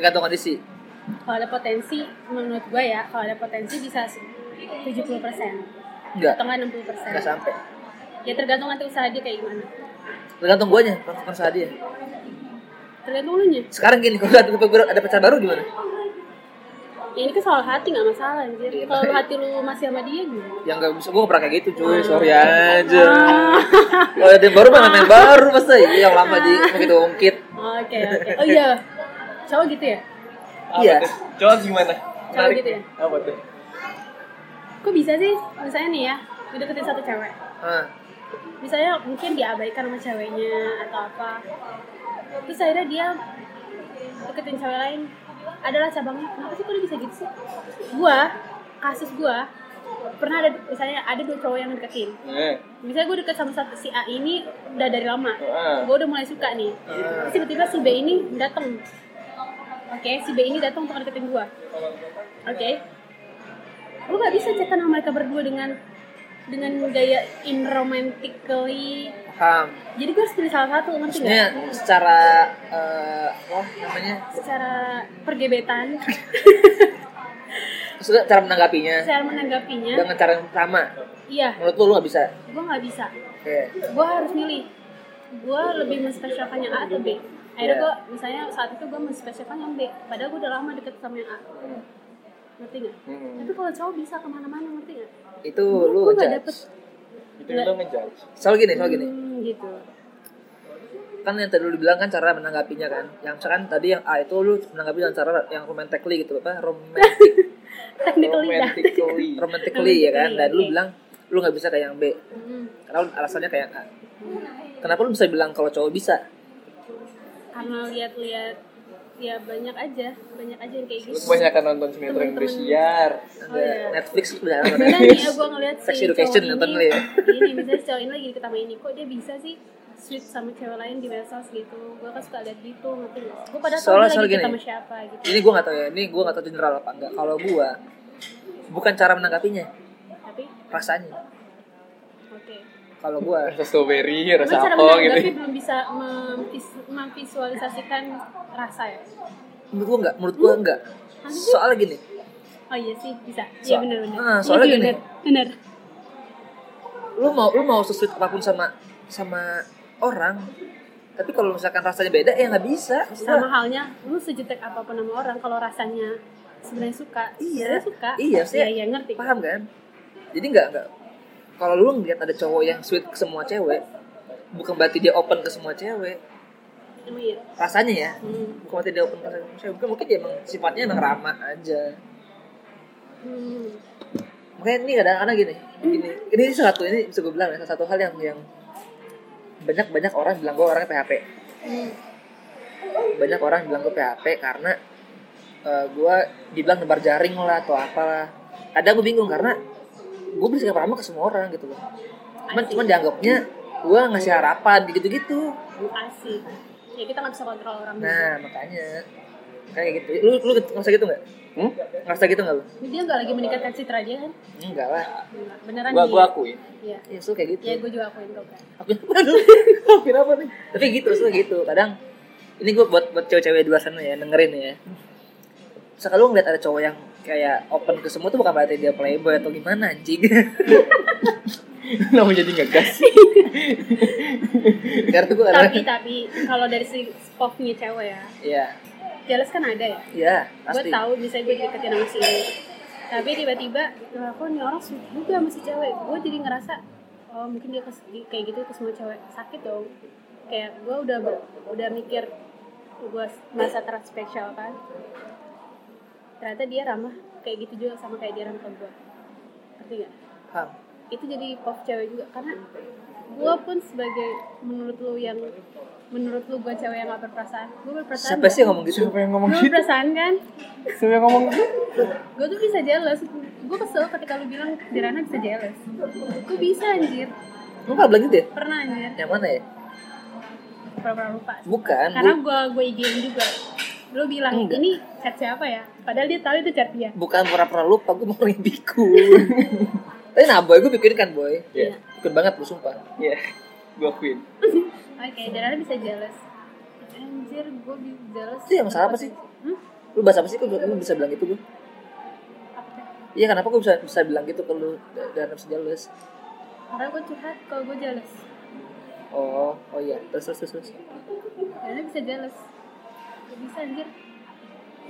A: Tergantung kondisi.
C: kalau ada potensi menurut gue ya kalau ada potensi bisa 70%
A: Enggak.
C: atau enggak 60%
A: Enggak sampai.
C: ya tergantung nanti usaha dia kayak gimana
A: Tergantung guanya, bukan usaha dia.
C: tergantung lu nya
A: Sekarang gini, kalau ada, pacar baru- ada pacar baru gimana?
C: ya ini kan soal hati nggak masalah anjir
A: Iya,
C: kalau
A: makanya.
C: hati lu masih sama dia gimana
A: Yang Ya nggak bisa, gue pernah kayak gitu
C: Hmm.
A: cuy, sorry aja
C: Ah.
A: Kalau ada yang baru mana main baru, masa iya yang lama
C: Ah.
A: di begitu ungkit
C: oke oke oh iya cowok gitu ya
B: Apa
A: Iya.
B: tuh? Coba gimana?
C: cowok
B: Menarik.
C: gitu ya
B: Apa tuh?
C: kok bisa sih misalnya nih ya gue deketin satu cewek
A: Hah,
C: misalnya mungkin diabaikan sama ceweknya atau apa terus akhirnya dia deketin cewek lain adalah cabangnya kenapa sih kok dia bisa gitu sih gua kasus gua pernah ada misalnya ada dua cowok yang deketin
B: Eh,
C: misalnya gue deket sama satu si A ini udah dari lama
B: Heeh.
C: gue udah mulai suka nih terus tiba-tiba si B ini datang oke si B ini datang untuk deketin gue oke gue gak bisa cetan sama mereka berdua dengan dengan gaya in romantically
A: paham
C: jadi gue harus pilih salah satu ngerti
A: Maksudnya
C: gak?
A: secara, eh, apa namanya
C: secara pergebetan
A: Maksudnya cara menanggapinya
C: secara menanggapinya
A: dengan cara yang sama
C: iya
A: Menurut lu, lu nggak bisa
C: gue gak bisa
A: Oke,
C: gue harus milih gue lebih menspesialkan yang A atau B akhirnya
A: Iya.
C: gue misalnya saat itu gue menspesialkan yang B padahal gue udah lama deket sama yang A ngerti nggak
B: Hmm.
C: tapi kalau cowok bisa kemana-mana ngerti nggak
A: itu lu
C: gue nggak
A: ngejudge.
C: dapet
B: Itu lo ngejudge.
A: Soal gini, soal gini
C: Hmm, gitu
A: kan yang tadi lu bilang kan cara menanggapinya kan yang misalkan tadi yang A itu lu menanggapi dengan cara yang romantically gitu apa romantic
C: technically dah
B: Romantically.
A: romantically ya kan dan lu
C: Romantically, oke.
A: bilang lu nggak bisa kayak yang B
C: Hmm,
A: karena lu- alasannya kayak A kenapa lu bisa bilang kalau cowok bisa
C: karena lihat-lihat ya banyak aja banyak aja yang kayak
B: Lu
C: gitu
B: kebanyakan nonton sinetron
C: Temen-temen.
B: bersiar.
A: Ada
C: Oh, iya.
A: Netflix lu bilang
C: Karena
A: ada-
C: nih ya gue ngeliat si
A: Sex Iya, education
C: cowok
A: nonton lu ya.
C: ini, ini misalnya si cowok ini lagi deket sama ini, kok dia bisa sih sweet sama cewek lain di medsos gitu Gue kan suka liat gitu, ngerti gak? Gue padahal tau
A: Soalnya-
C: dia lagi
A: soalnya
C: deket
A: gini.
C: sama siapa gitu
A: ini gua nggak tahu ya ini gua nggak tahu general apa enggak kalau gua bukan cara menanggapinya
C: Tapi,
A: rasanya
C: oke
A: kalau gua
B: Rasa strawberry,
C: Tapi
B: rasa
C: cara
B: apa
C: menanggapi
B: gitu.
C: belum bisa memvis- memvisualisasikan rasa ya?
A: menurut gua enggak menurut gua enggak soalnya gini
C: Oh iya sih, bisa Iya
A: So-
C: bener-bener
A: Ah,
C: Iya
A: soalnya
C: sih,
A: gini.
C: bener. Bener
A: lu mau lu mau sesuai apapun sama sama orang tapi kalau misalkan rasanya beda ya nggak bisa Maksud gua,
C: Sama halnya, lu sejutek apapun sama orang Kalau rasanya sebenarnya suka
A: Iya.
C: sebenarnya suka
A: Iya, maksudnya-
C: iya iya ngerti
A: paham kan jadi nggak nggak kalau lu ngeliat ada cowok yang sweet ke semua cewek bukan berarti dia open ke semua cewek
C: Emang iya
A: rasanya ya
C: Hmm.
A: bukan berarti dia open ke semua cewek bukan mungkin dia emang sifatnya emang ramah aja
C: Hmm.
A: makanya ini kadang-kadang gini gini ini satu ini bisa gue bilang ya salah satu hal yang yang banyak banyak orang bilang gue orangnya PHP
C: Hmm.
A: banyak orang bilang gue PHP karena eh, gue dibilang nebar jaring lah atau apalah ada gue bingung karena gue beli sikap ramah ke semua orang gitu loh cuman cuman dianggapnya gue ngasih harapan gitu-gitu
C: Asik. Ya kita nggak bisa kontrol orang
A: nah makanya kayak gitu lu lu ngerasa gitu nggak
B: Hmm?
A: ngerasa gitu nggak lu
C: Dia nggak lagi meningkatkan citra dia kan?
A: enggak lah
C: Gila, Beneran
B: Gua
C: dia.
B: gua akuin.
C: Iya.
A: ya so kayak gitu
C: Ya gue juga akuin kok. Kak.
A: Aku aduh, Hampir apa nih? Tapi gitu, maksudnya gitu. Kadang ini gue buat buat cewek-cewek di luar sana ya, dengerin ya. Sekali lu ngeliat ada cowok yang kayak open ke semua tuh bukan berarti dia playboy atau gimana anjing.
B: Kenapa jadi ngegas?
A: Karena gue ada
C: Tapi tapi kalau dari si spoknya cewek ya,
A: Iya,
C: jelas kan ada ya.
A: iya,
C: Gue
A: pasti.
C: tahu misalnya gue deketin sama si ini. Tapi tiba-tiba, "Lah, kok nih orang suka juga sama si cewek. Gue jadi ngerasa, oh mungkin dia kes- kayak gitu ke semua cewek sakit dong. Kayak gue udah ber- udah mikir gue masa transspeksial kan. Ternyata dia ramah kayak gitu juga sama kayak dia ramah ke gue. Ngerti gak?
A: Paham.
C: itu jadi pop cewek juga karena gue pun sebagai menurut lu yang menurut lu gue cewek yang gak berperasaan gue berperasaan
A: Siapa sih yang ngomong gitu?
B: Siapa yang
C: gue
B: ngomong gitu?
C: berperasaan kan
B: Siapa yang ngomong gitu?
C: gue tuh bisa jealous gue kesel ketika lu bilang Dirana bisa jealous gue bisa anjir
A: Lu pernah bilang gitu ya?
C: pernah anjir
A: Yang mana ya?
C: pernah lupa
A: Bukan.
C: karena
A: bu-
C: gue gue igin juga lu bilang
A: Enggak.
C: ini chat siapa ya padahal dia tahu itu chat dia
A: bukan pernah-pernah lupa, gue mau ngibiku. Tapi nah boy, gue pikirin kan boy.
B: Iya.
A: Pikir banget gue sumpah.
B: Iya. Gua akuin.
C: oke Dirana bisa jealous anjir gue bisa jealous
A: Itu yang salah apa sih?
C: hmm?
A: Lu bahasa apa sih? Kok lu bisa bilang gitu gue?
C: apa tuh?
A: Iya kenapa gue bisa bisa bilang gitu ke lu da- dan harus jealous?
C: karena gue curhat kalau gue jealous
A: Oh oh iya terus terus terus. terus.
C: Karena bisa jealous Gak bisa anjir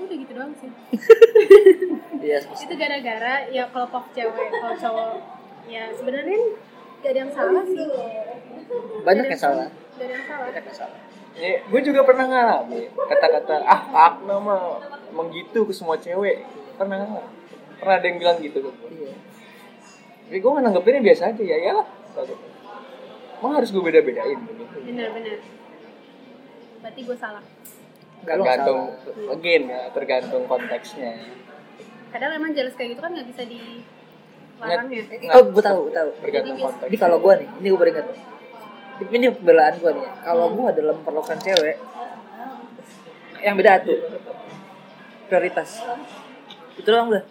C: Udah gitu doang sih
A: Iya terus.
C: Itu gara-gara ya kalau pop cewek Kalau cowok Ya sebenarnya gak ada yang salah sih
A: banyak yang salah.
C: Gak ada yang salah
A: Banyak yang salah.
B: Ya, gue juga pernah ngalamin kata-kata ah ak nama emang gitu ke semua cewek pernah ngalamin. pernah ada yang bilang gitu ke gue
A: Iya.
B: tapi gue nanggepinnya biasa aja ya iyalah kata gue. emang harus gue beda-bedain gitu
C: Bener-bener Berarti gue salah
A: Enggak lu nggak
B: tergantung
A: salah.
B: again ya tergantung konteksnya
C: Kadang emang jealous kayak gitu kan gak bisa dilarang ya
A: Eh, Oh gue tahu gue tahu.
B: tergantung konteks
A: Jadi kalau gue nih ini gue beringat. Ini pembelaan gue nih. ya. Kalau gue dalam memperlakukan cewek yang beda tuh prioritas. Itu doang udah.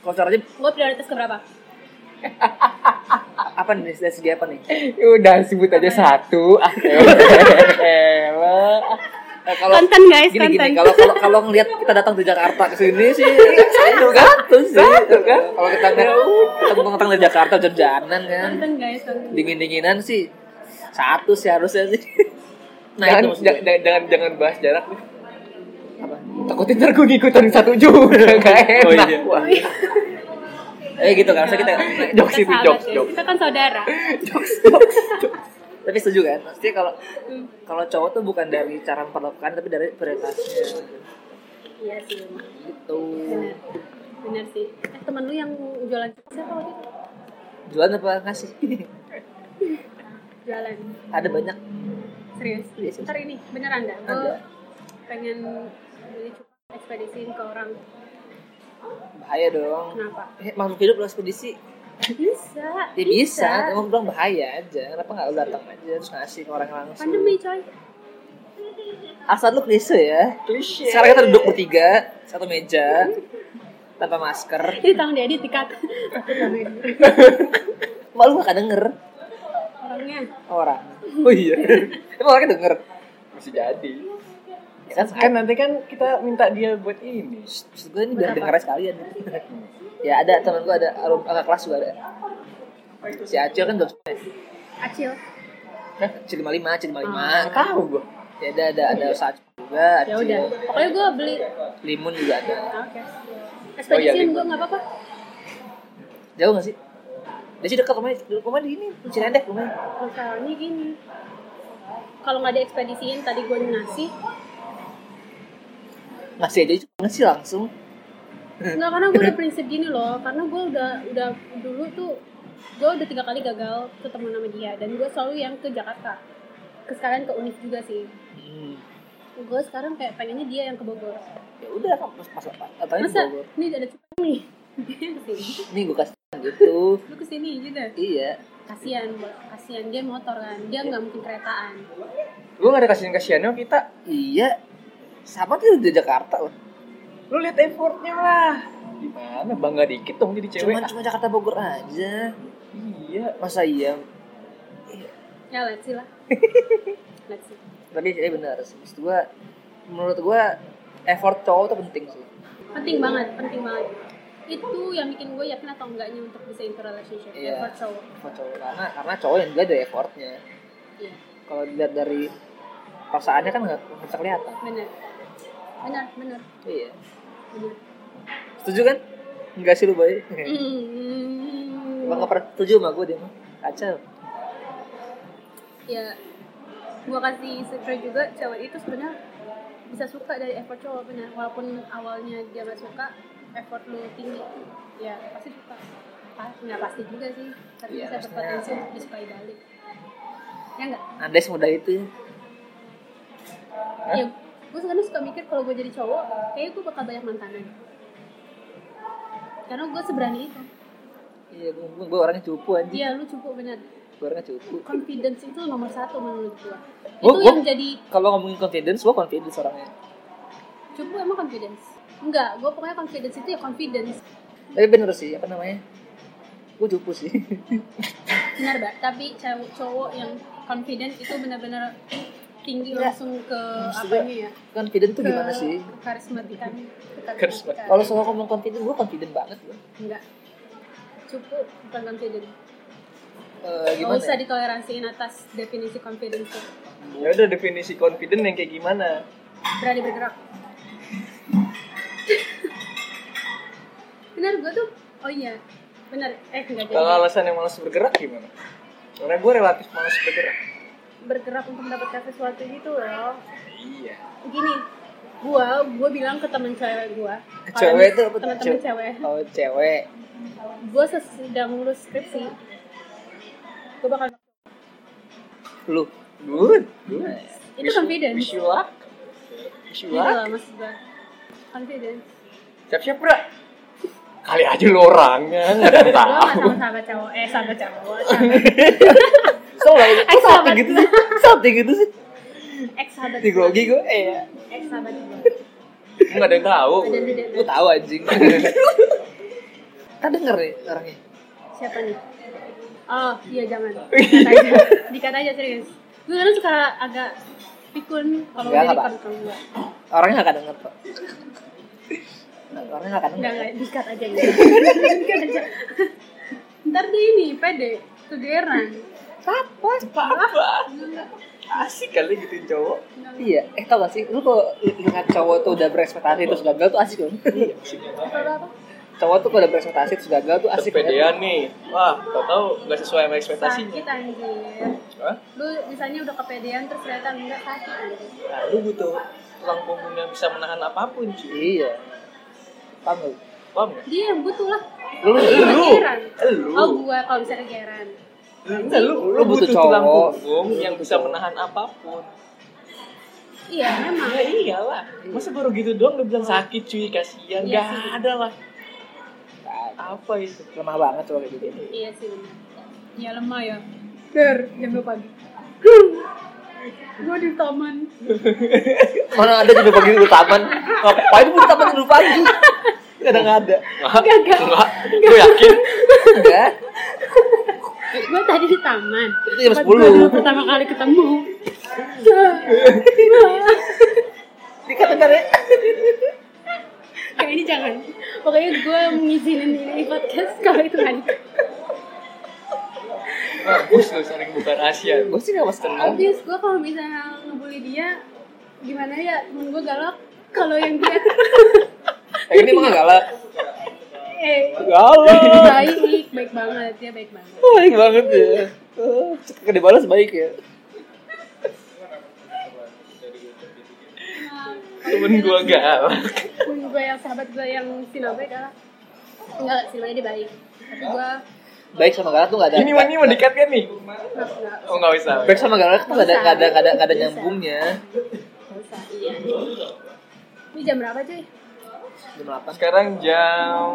A: Kalau caranya
C: Gue prioritas ke berapa?
A: apa nih dari segi apa nih?
B: Ya udah sebut aja satu ah
A: Nah,
B: elah
A: Eh, kalau
C: Konten, guys,
A: gini gini
C: konten.
A: kalau kalau kalau ngelihat kita datang ke Jakarta ke sini sih satu satu sih
B: kan?
A: kalau kita ngeliat ketemu datang dari Jakarta jajanan kan
C: Konten guys konten.
A: dingin dinginan sih satu sih harusnya sih nah
B: jangan,
A: itu maksudnya
B: jangan, jangan jangan bahas jarak nih
A: apa
B: takutnya ntar gue ngikutin satu juga gak enak
A: Oh, iya.
B: Wah.
A: eh gitu kan maksudnya kita
B: Jokes itu,
C: Kita sahabat
B: jokes,
C: ya.
B: jokes.
C: Kita kan saudara
A: tapi setuju kan maksudnya kalau kalau cowok tuh bukan dari cara memperlakukan tapi dari prioritasnya
C: Iya sih emang.
A: gitu
C: Bener Bener sih Eh temen lu yang jualan siapa waktu itu?
A: jualan apa ngasih
C: Jualan
A: ada banyak
C: Serius?
A: Iya, serius.
C: Ntar ini, beneran gak?
A: Ada.
C: Gue pengen beli cukup ekspedisiin ke orang
A: bahaya dong
C: Kenapa?
A: eh, makhluk hidup lo ekspedisi
C: Bisa
A: Ya bisa, cuma bilang bahaya aja. Kenapa nggak lu datang aja terus ngasih ke orang langsung?
C: Pandemi coy
A: Asal lu klise ya.
C: Iya.
B: klise
A: Sekarang kita duduk bertiga, satu meja, tanpa masker.
C: Ini tolong diedit dikat
A: Mak lu gak denger
C: Orangnya
A: orang. Oh iya. Emang orangnya denger.
B: masih jadi
A: Ya kan,
B: kan
A: kan
B: nanti kan kita minta dia buat ini
A: maksud gue ini biar denger aja sekalian. ya ada temen gue ada alum kakak kelas juga ada. Si Acil kan dokternya.
C: Acil
A: Acil 55, Acil 55.
B: nggak tahu gue
A: Ya ada ada ada Saju juga,
C: Ah. Ya udah
A: Acil.
C: Pokoknya gue beli
A: Limun juga ada.
C: Ah, Oke
B: Oh, iya,
C: Ekspedisiin
B: gitu.
C: gue gak apa-apa
A: Jauh gak sih? Dia sih dekat rumahnya, rumahnya di ini, di Cirendek rumahnya.
C: Masalahnya gini kalau nggak ada ekspedisiin tadi gue ngasih
A: ngasih aja cuma ngasih langsung
C: Enggak karena gue udah prinsip gini loh, karena gue udah udah dulu tuh gue udah tiga kali gagal ketemu sama dia dan gue selalu yang ke Jakarta. Ke sekarang ke Unik juga sih.
A: Hmm.
C: Gue sekarang kayak pengennya dia yang ke Bogor.
A: Ya udah kan pas pas apa? Apanya di
C: Masa
A: Bogor?
C: ini ada cepet nih. Dia kesini.
A: Nih gue kasih gitu.
C: Lu kesini gitu.
A: iya.
C: Kasian, kasian dia motor kan. Dia nggak mungkin keretaan.
B: Gue gak ada kasihan-kasihannya kita.
A: Iya. Sama tuh di Jakarta loh.
B: Lu lihat effortnya lah. Gimana bangga dikit dong jadi cewek.
A: Cuman cuma Jakarta Bogor aja.
B: Iya.
A: Masa iya?
C: Ya let's see lah. Let's see.
A: Tapi saya benar sih. Maksud gua menurut gua effort cowok tuh penting sih.
C: penting banget penting banget itu yang bikin gue yakin atau enggaknya untuk bisa into relationship
A: Iya.
C: effort cowok
A: Effort cowok karena karena cowok yang dilihat dari effortnya.
C: iya
A: Kalau dilihat dari perasaannya kan nggak nggak bisa kelihatan.
C: benar benar benar
A: Iya.
C: benar
A: Setuju kan? Enggak sih lu boy.
C: Mm.
A: Emang nggak pernah setuju sama gue dia mah. Kacau.
C: ya gue kasih secret juga cewek itu sebenarnya bisa suka dari effort cowok benar walaupun awalnya dia nggak suka effort lu tinggi ya pasti suka Ah, nggak pasti juga sih tapi
A: Iya,
C: bisa
A: maksudnya-
C: berpotensi untuk disukai balik ya enggak
A: Andai semudah itu ya.
C: ya gue sekarang suka mikir kalau gue jadi cowok kayaknya gue bakal banyak mantanan karena gue seberani itu
A: Iya, gue, gue orangnya cupu anjing.
C: iya lu cukup benar
A: Gue orangnya cupu.
C: confidence itu nomor satu menurut gue itu
A: Gua- gua-
C: yang jadi
A: Kalau ngomongin confidence, gue confidence orangnya.
C: cukup emang confidence enggak gue pokoknya confidence itu ya confidence
A: Tapi bener sih, apa namanya? Gue cupu sih.
C: benar mbak tapi cowok cowok yang confident itu benar-benar tinggi
A: Iya.
C: langsung ke
A: Maksud gua-
C: apanya ya
A: confident tuh
C: Ke
A: gimana sih?
C: karismatikan
B: Karismatik.
A: Kalau soal ngomong confident, gue confident banget. Gua.
C: enggak cukup bukan
A: Eh,
C: confident Gak
A: gimana?
C: usah
A: ya?
C: ditoleransiin atas definisi confidence itu.
B: Ya udah definisi confident yang kayak gimana?
C: berani bergerak benar gue tuh oh iya benar eh enggak
B: Kalau
C: jadi
B: alasan yang malas bergerak gimana? Karena gue relatif malas bergerak.
C: bergerak untuk mendapatkan sesuatu gitu loh
B: Iya.
C: gini gue gue bilang ke temen cewek gue
A: Cewek tuh apa tuh?
C: teman-teman
A: Cewek.
C: cewek
A: Oh, cewek.
C: gue sedang lulus skripsi gue bakal
A: Lu.
B: Good. Good.
C: Itu confident.
B: Wish you luck. Wish you
C: gitu
B: luck.
C: loh maksud gue confidence
B: Siap-siap, bro. Kali aja lu orangnya. Nggak ada yang
C: gue
B: tahu.
C: gak sama
A: Ah.
C: sahabat cowok eh sahabat cowok sahabat
A: Kok lagi
C: Eh,
A: kok salting
C: sahabat.
A: gitu sih? Salting gitu sih?
C: ex sahabat
A: Tigogi gue, eh.
C: ex sahabat gue
B: Nggak ada yang tahu.
C: ada ada-
A: Gue
C: ada.
A: tahu anjing. Kan denger nih orangnya.
C: siapa nih oh iya jangan dikat aja dikat aja serius gue kadang suka agak pikun kalau
A: Enggak,
C: udah
A: enggak,
C: dikat kalau enggak
A: Orangnya gak akan denger kok. Orangnya gak akan
C: enggak
A: denger.
C: enggak dikat aja ya dikat aja ntar dia ini pede kegeran
A: Apa?
B: Apa? Asik kali gituin cowok.
A: Iya, eh tau gak sih, lu kok lihat cowok tuh udah berekspektasi terus gagal tuh asik loh
C: apa apa
A: Cowok tuh kalau udah berekspektasi terus gagal tuh asik
B: Kepedean nih. Wah, tau tau nggak sesuai sama ekspektasinya.
C: sakit anjir
B: Hah?
C: lu misalnya udah kepedean terus ternyata enggak sakit anjir.
B: Nah, lu butuh tulang punggung yang bisa menahan apapun, cuy.
A: Iya Paham lu?
B: Paham nggak?
C: dia yang butuh lah
A: Lu, lu,
B: Lu,
C: Kegeran.
B: lu,
C: oh gue kalau bisa kegeran
B: enggak lu, lu
A: Lu butuh
B: butuh tulang
A: cowok.
B: punggung yang bisa menahan apapun.
C: iya memang
B: Ya iyalah, masa baru gitu doang lu bilang sakit cuy, kasihan, gak
C: Iya sih.
B: ada lah.
A: Nah,
B: Apa itu?
A: Lemah banget cowok kayak gitu
C: iya sih benar ya lemah ya ger jam dua pagi gue di taman
A: Mana ada juga pagi dulu taman Ngapain lu di taman dulu pagi? Kadang gak ada Iya.
B: Enggak, enggak, gue yakin.
A: Enggak
C: gue tadi di taman
A: Itu jam
C: Pas
A: 10.
C: gua dulu pertama kali ketemu
A: Dikata ntar ya
C: kayak ini jangan pokoknya gue ngizinin ini podcast kalau itu nggak di-
B: Bagus lu sering buka rahasia.
A: Gue sih gak masalah
C: Abis gue kalau misalnya ngebully dia gimana ya temen gue galak kalau yang dia
A: Eh ini emang gak galak
C: eh
A: Galak
C: baik baik banget dia baik banget
A: Baik banget ya Eh, Gede balas baik ya
C: Nah,
B: Temen gue galak.
C: temen gue yang sahabat gue yang Sino gue adalah enggak Sinonya dia baik tapi gue
A: baik sama galak tuh nggak ada
B: Ini mah ini mau dekat kan nih?
C: nggak nggak
B: Oh nggak bisa.
A: baik sama galak tuh nggak ada nggak ada nggak ada nggak ada
C: Bisa.
A: nyambungnya
C: nggak usah iya ini jam berapa cuy
A: jam delapan
B: Sekarang jam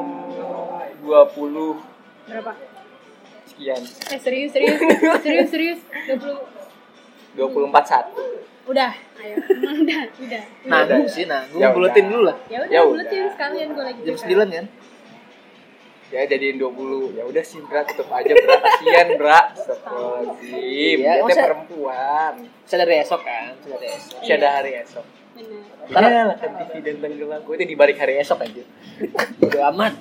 B: 20
C: berapa
B: sekian.
C: eh serius serius serius serius 20
B: 241.
C: udah ayo udah udah
A: nanggung sih nanggung
B: Ya udah.
A: buletin dulu lah
C: ya
B: Ya
C: udah buletin
B: udah.
C: sekalian gue lagi
A: jam
C: buka.
A: sembilan kan
B: Ya jadiin 20. Ya udah sih, Bra, tutup aja, Bra. Kasihan, Bra. Astagfirullahaladzim.
A: Iya,
B: Dia teh
A: masa-
B: perempuan.
A: bisa dari esok kan bisa dari esok
B: Masih ada hari esok.
C: bener
A: Iya.
B: Karena akan TV dan tenggelam. Gue itu di balik hari esok aja.
A: udah amat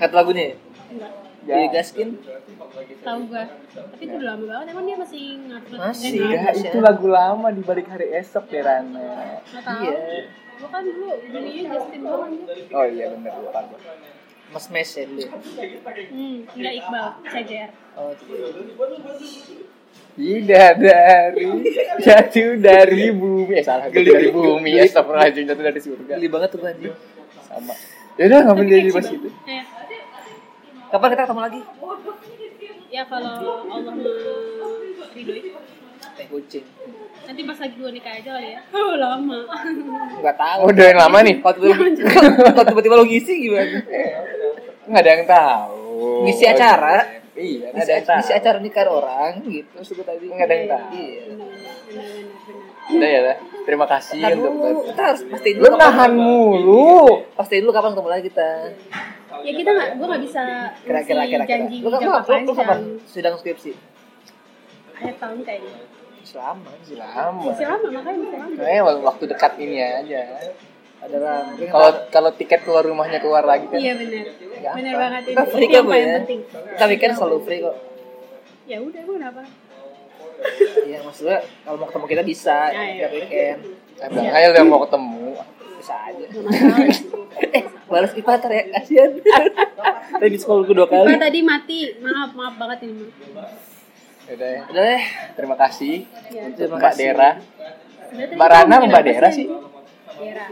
A: kata lagunya
C: enggak
A: ya. digaskin
C: tahu gue tapi itu udah lama banget emang dia masih ngatur
A: Masih,
C: eh,
A: ya.
C: ngatur.
B: Ya, itu lagu lama di balik hari esok ya Rana.
C: nggak tahu
A: Iya.
C: gue kan dulu jadinya Justin doang aja
B: Oh iya bener lupa gue.
A: mas mes ya dulu ya?
C: hmm nggak Iqbal CJR
A: oh gitu.
B: Tidak dari jatuh dari bumi. Eh salah, jatuh dari bumi. Astagfirullahaladzim, jatuh dari surga.
A: geli banget tuh gua, anjing
B: Sama. Ya udah nggak
C: Tapi
B: menjadi
C: catchy
B: pas
C: banget.
B: itu.
C: Eh,
A: kapan kita ketemu lagi
C: ya kalau Allah meridoi
A: teh kucing
C: nanti pas lagi gue nikah aja kali ya oh lama
A: nggak tahu
B: Oh udah yang lama nih.
A: kalau tiba-tiba kalau tiba-tiba lo ngisi gimana
B: Nggak ada yang tahu.
A: Ngisi acara.
B: Iya, nggak
A: ngisi,
B: ada yang tahu.
A: ngisi acara nikah orang gitu terus gue tadi
B: Nggak ada yang tahu.
A: iya
B: Udah ya dah. Terima kasih
A: Ntar
B: untuk
A: dulu, kita harus pastiin
B: Lu
A: dulu kapan,
B: nahan mulu.
A: pastiin dulu kapan ketemu lagi kita
C: ya kita nggak gue nggak bisa
A: kira-kira
C: ngasih
A: kira-kira
C: janji
A: lu kapan
C: jangka
A: lu- lu kapan
C: panjang
A: sidang skripsi
C: akhir tahun kayaknya
A: selama sih lah
B: Lama.
C: masih lama makanya masih lama
B: Kayaknya waktu dekat ini aja.
A: adalah mungkin
B: Kalau kalau tiket keluar rumahnya keluar lagi kan.
C: iya benar benar
A: apa.
C: banget
A: Kita
C: itu
A: free
C: itu
A: kok,
C: yang
A: Bu,
C: paling
A: ya?
C: penting
A: kita weekend selalu free kok
C: ya udah gue kenapa
A: Iya maksudnya kalau mau ketemu kita bisa
C: Ya, ya.
A: tiap weekend
B: Saya bilang, ayo udah mau ketemu.
A: bisa aja.
C: Gak masalah
A: Eh balas IPA ntar ya kasihan. Tadi di sekolah gue dua
C: Ipa
A: kali.
C: tadi mati maaf maaf banget ini Ma.
B: Udah ya.
A: Udah deh.
B: Terima kasih
C: Ya.
B: untuk
A: Iya, Terima
B: Mbak
A: kasih.
B: Dera.
C: Sebenarnya tadi
B: Mbak
C: kita
B: Rana,
C: ngomongin
B: Mbak
C: apa sih,
B: Dera sih?
C: Dera.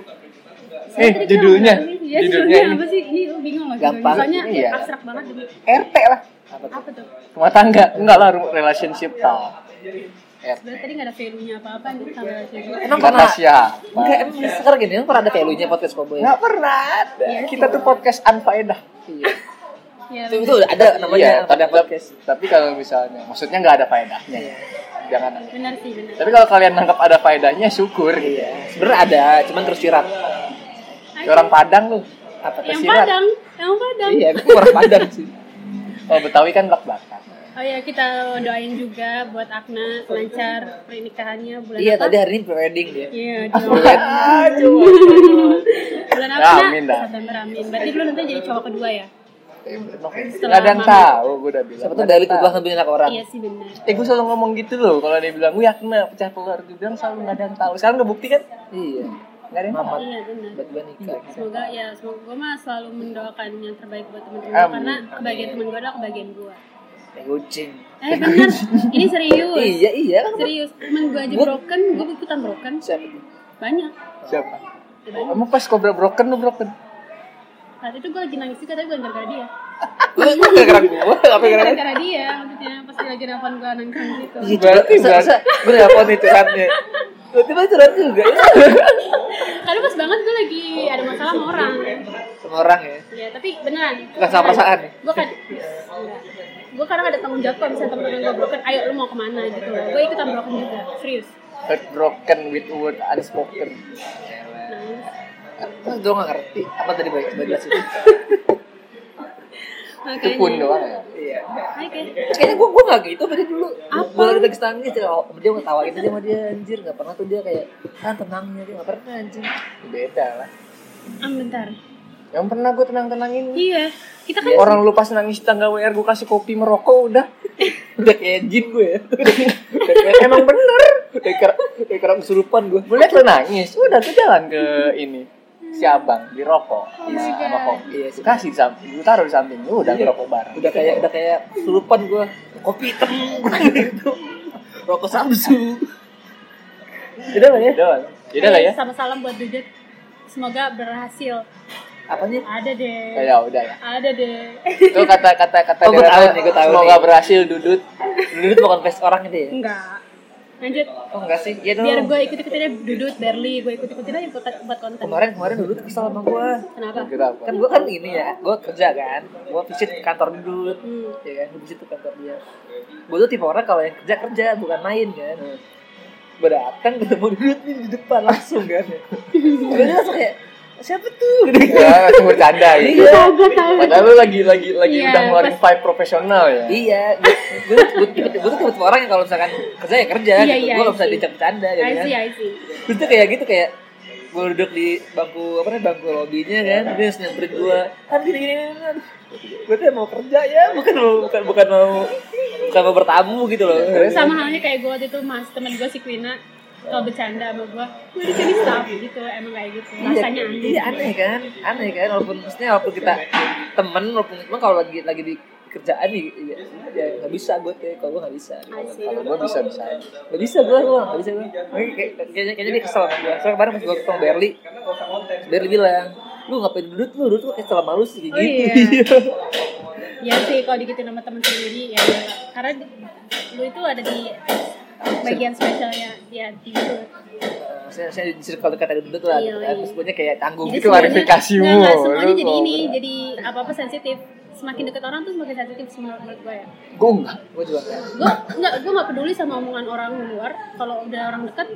B: Eh,
C: Tadi kita
B: judulnya.
C: ngomongin apa sih? Iya,
B: Judulnya
C: judulnya
B: ini.
C: apa sih? Ini lu bingung loh
A: Gampang.
C: judulnya. Soalnya
B: Iya.
C: abstrak banget dulu.
B: RT lah.
A: Apa tuh?
C: Apa tuh?
B: Rumah tangga. Enggak lah ru- relationship tau. RT.
C: Sebenarnya tadi nggak ada value-nya apa-apa nih sama cewek.
A: Emang
B: Kata
A: pernah?
B: siapa?
A: Enggak emang sekarang gini emang pernah ada value-nya podcast Cowboy.
B: Nggak pernah ada. Kita tuh podcast anfaedah.
A: Iya.
C: Ya,
A: Itu itu ada namanya
B: Iya, tapi,
A: Iya, ada podcast. Iya.
B: tapi kalau misalnya, maksudnya nggak ada faedahnya. ya. Jangan.
C: benar sih, benar.
B: Tapi kalau kalian nangkap ada faedahnya, syukur. Iya.
A: Sebenarnya ada, cuman terus sirat.
B: Orang Padang lu. Apa
C: yang
B: tersirat?
C: Padang, yang Padang.
A: Iya, gue orang Padang sih.
B: Kalau Betawi kan belak belakan.
C: Oh ya, kita doain juga buat Akna lancar pernikahannya bulan
A: Iya,
C: apa?
A: tadi hari ini pre-wedding dia.
C: Iya, doain. bulan apa?
B: Ya,
C: Nak?
B: amin dah.
C: September amin. Berarti lu nanti jadi cowok kedua ya? Setelah
B: Nggak ada yang
C: mami.
B: tahu, gue udah bilang.
A: Siapa tuh
B: Nggak
A: dari
B: tahu.
A: tuh ngambil anak orang.
C: Iya sih benar.
B: Eh gue selalu ngomong gitu loh, kalau dia bilang gue yakin lah pecah telur, gue bilang selalu nggak ada yang tahu. Sekarang ngebukti kan?
A: Iya.
B: Nggak ada yang tahu.
C: Iya benar.
A: Tiba-tiba nikah.
C: Semoga ya, semoga gue mah selalu mendoakan yang terbaik buat temen-temen
B: Amin.
C: gua, karena kebahagiaan temen gue adalah kebahagiaan gue.
A: Kayak kucing.
C: Eh benar, ini serius.
A: Iya, iya kan.
C: Serius, temen gue aja broken, gue ikutan broken.
A: Siapa tuh?
C: Banyak.
B: Siapa?
C: Ya, banyak.
B: Emang pas kobra broken lu broken?
C: Saat itu gue lagi nangis juga, tapi bukan gara-gara dia.
A: Gara-gara gue, apa gara-gara
C: Gara-gara dia, maksudnya pas dia lagi nelfon gue nangis gitu.
A: Iya,
B: Berarti-
A: coba- masa-
B: berarti-
A: masa gue nelfon nih curhatnya tiba-tiba curhat juga ya.
C: Karena pas banget gue lagi ada masalah sama orang.
A: sama orang ya
C: Ya, tapi beneran.
A: Bukan sama perasaan.
C: Gue kan, gue kadang ada tanggung jawab kalau misalnya temen-temen gue broken, ayo lu mau kemana gitu. Gue ikutan broken juga, serius.
B: Heart broken with word unspoken.
C: Nangis.
A: terus gue gak ngerti apa tadi baik coba jelasin
B: Itu pun doang ya.
A: iya
C: Oke.
A: kayaknya gue gue gak gitu tadi dulu
C: Apa?
A: gue lagi nangis nangis dia dia ngetawain aja sama dia anjir gak pernah tuh dia kayak kan tenangnya dia gak pernah anjir
B: Beda lah.
C: Am bentar.
B: Yang pernah gue tenang-tenangin
C: Iya, kita kan
B: Orang lu pas nangis di tangga WR gue kasih kopi merokok udah.
A: udah kayak jin gue ya
B: Udah kayak, Emang bener.
A: udah kayak udah kayak orang kesurupan gue
B: Gue liat lu nangis, udah tuh jalan ke ini si abang beli rokok
C: Oh
B: sama,
C: my God.
B: sama kopi
A: Iya sih.
B: kasih di samping gue taruh di samping lu udah
A: Iya.
B: ngerokok bareng
A: udah kayak udah kayak kesurupan gue kopi hitam gitu rokok samsu
B: udah lah ya udah lah ya
C: Sama salam buat Dudet. semoga berhasil
A: apa nih
C: ada deh
B: ya udah lah
C: ada deh
B: itu kata kata kata
A: Oh, gue
B: Dara,
A: tahu nih, gue tahu
B: semoga
A: nih.
B: berhasil dudut
A: dulu tuh bukan face orang gitu ya
C: enggak lanjut
A: oh enggak sih ya dong
C: biar gue ikut ikutin aja dudut Berli gue ikut ikutin aja buat, buat konten
A: kemarin kemarin dulu tuh kesel sama gue
C: kenapa
B: kenapa
A: kan gue kan ini ya gue kerja kan gue visit ke kantor dulu
C: hmm.
A: ya kan gue visit ke kantor dia gue tuh tipe orang kalau yang kerja kerja bukan main kan gue datang ketemu dulu nih di depan langsung kan gue langsung kayak siapa tuh gitu
B: ya langsung bercanda gitu
A: Iya.
C: Kagak tahu.
B: padahal lu lagi lagi lagi
C: Iya,
B: udah ngeluarin
C: pas-
B: vibe profesional ya
A: iya gue gue gue gue tuh tipe orang yang kalau misalkan kerja ya kerja
C: Iya,
A: gitu
C: iya,
A: gue gak bisa
C: I see.
A: dicap bercanda gitu
C: I
A: kan
C: see, I see.
A: Terus tuh kayak gitu kayak gue duduk di bangku apa namanya bangku lobbynya kan dia harus nyamperin gue kan gini gini, gini, gini. gue tuh mau kerja ya bukan mau bukan bukan mau bukan mau bertamu gitu loh
B: Terus?
C: sama halnya kayak gue waktu itu mas temen gue si Quina kalau bercanda sama gue gue di sini staff gitu emang kayak gitu rasanya
A: iya, iya
C: aneh
A: aneh kan aneh kan walaupun maksudnya walaupun kita temen walaupun emang kalau lagi lagi di kerjaan nih ya, ya nggak bisa gue kayak kalau gue nggak bisa
C: I see.
B: kalau gue bisa bisa aja
A: nggak bisa gue gue nggak bisa gue Kayak- kayak- kayaknya kayaknya dia kesel sama gue soalnya kemarin pas gue ketemu Berli Berli bilang lu ngapain duduk lu duduk tuh kayak selama lu sih kayak
C: Oh,
A: gitu
C: iya. ya sih kalau dikitin sama temen sendiri ya udah. karena di- lu itu ada di bagian spesialnya dia di itu
A: saya saya di circle dekat ada duduk lah
C: Iya,
A: gitu kan.
C: iya.
A: terus gue kayak tanggung
C: Jadi
A: gitu
B: Itu
A: lah
C: semuanya-
B: klarifikasimu,
C: nggak, nggak, semuanya
B: lu
C: jadi
B: mau
C: ini
B: berapa?
C: jadi apa apa sensitif semakin deket orang tuh semakin sensitif sih menurut menurut gue ya
B: gue enggak
A: gue juga kan
C: gue nggak gue nggak peduli sama omongan orang luar kalau udah orang deket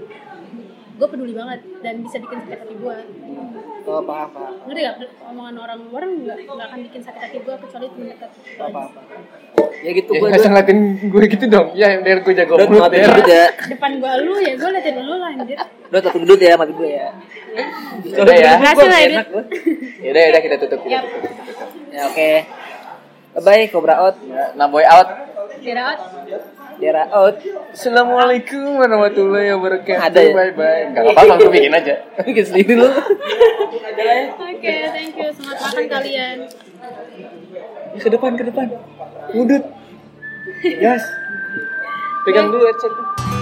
C: gue peduli banget dan bisa bikin sakit hati gue
A: oh paham paham
C: ngerti gak omongan orang luar nggak nggak akan bikin sakit hati gue kecuali temen deket Itu
A: paham
C: aja.
A: paham ya gitu
B: ya
A: gue
B: nggak usah ngeliatin gue gitu dong ya biar gue jago
A: Dot
B: mulut
A: matiin
B: ya
A: dudut ya
C: depan gue lu ya gue liatin lu lah anjir
A: Dot matiin dudut ya mati gue ya
B: Udah
A: Gue
B: ya.
C: Berhasil lah,
A: enak Ya gue
B: yaudah yaudah kita tutup kita
C: Yap.
B: tutup
A: ya oke bye bye Cobra out
B: Ya, nah boy out
C: Jerawat
A: Dera out
B: Assalamualaikum warahmatullahi wabarakatuh
A: Ada ya?
B: bye bye nggak apa-apa gue bikin aja
A: bikin sendiri lu
C: oke thank you selamat makan kalian
B: ke depan ke depan udut gas pegang dulu headset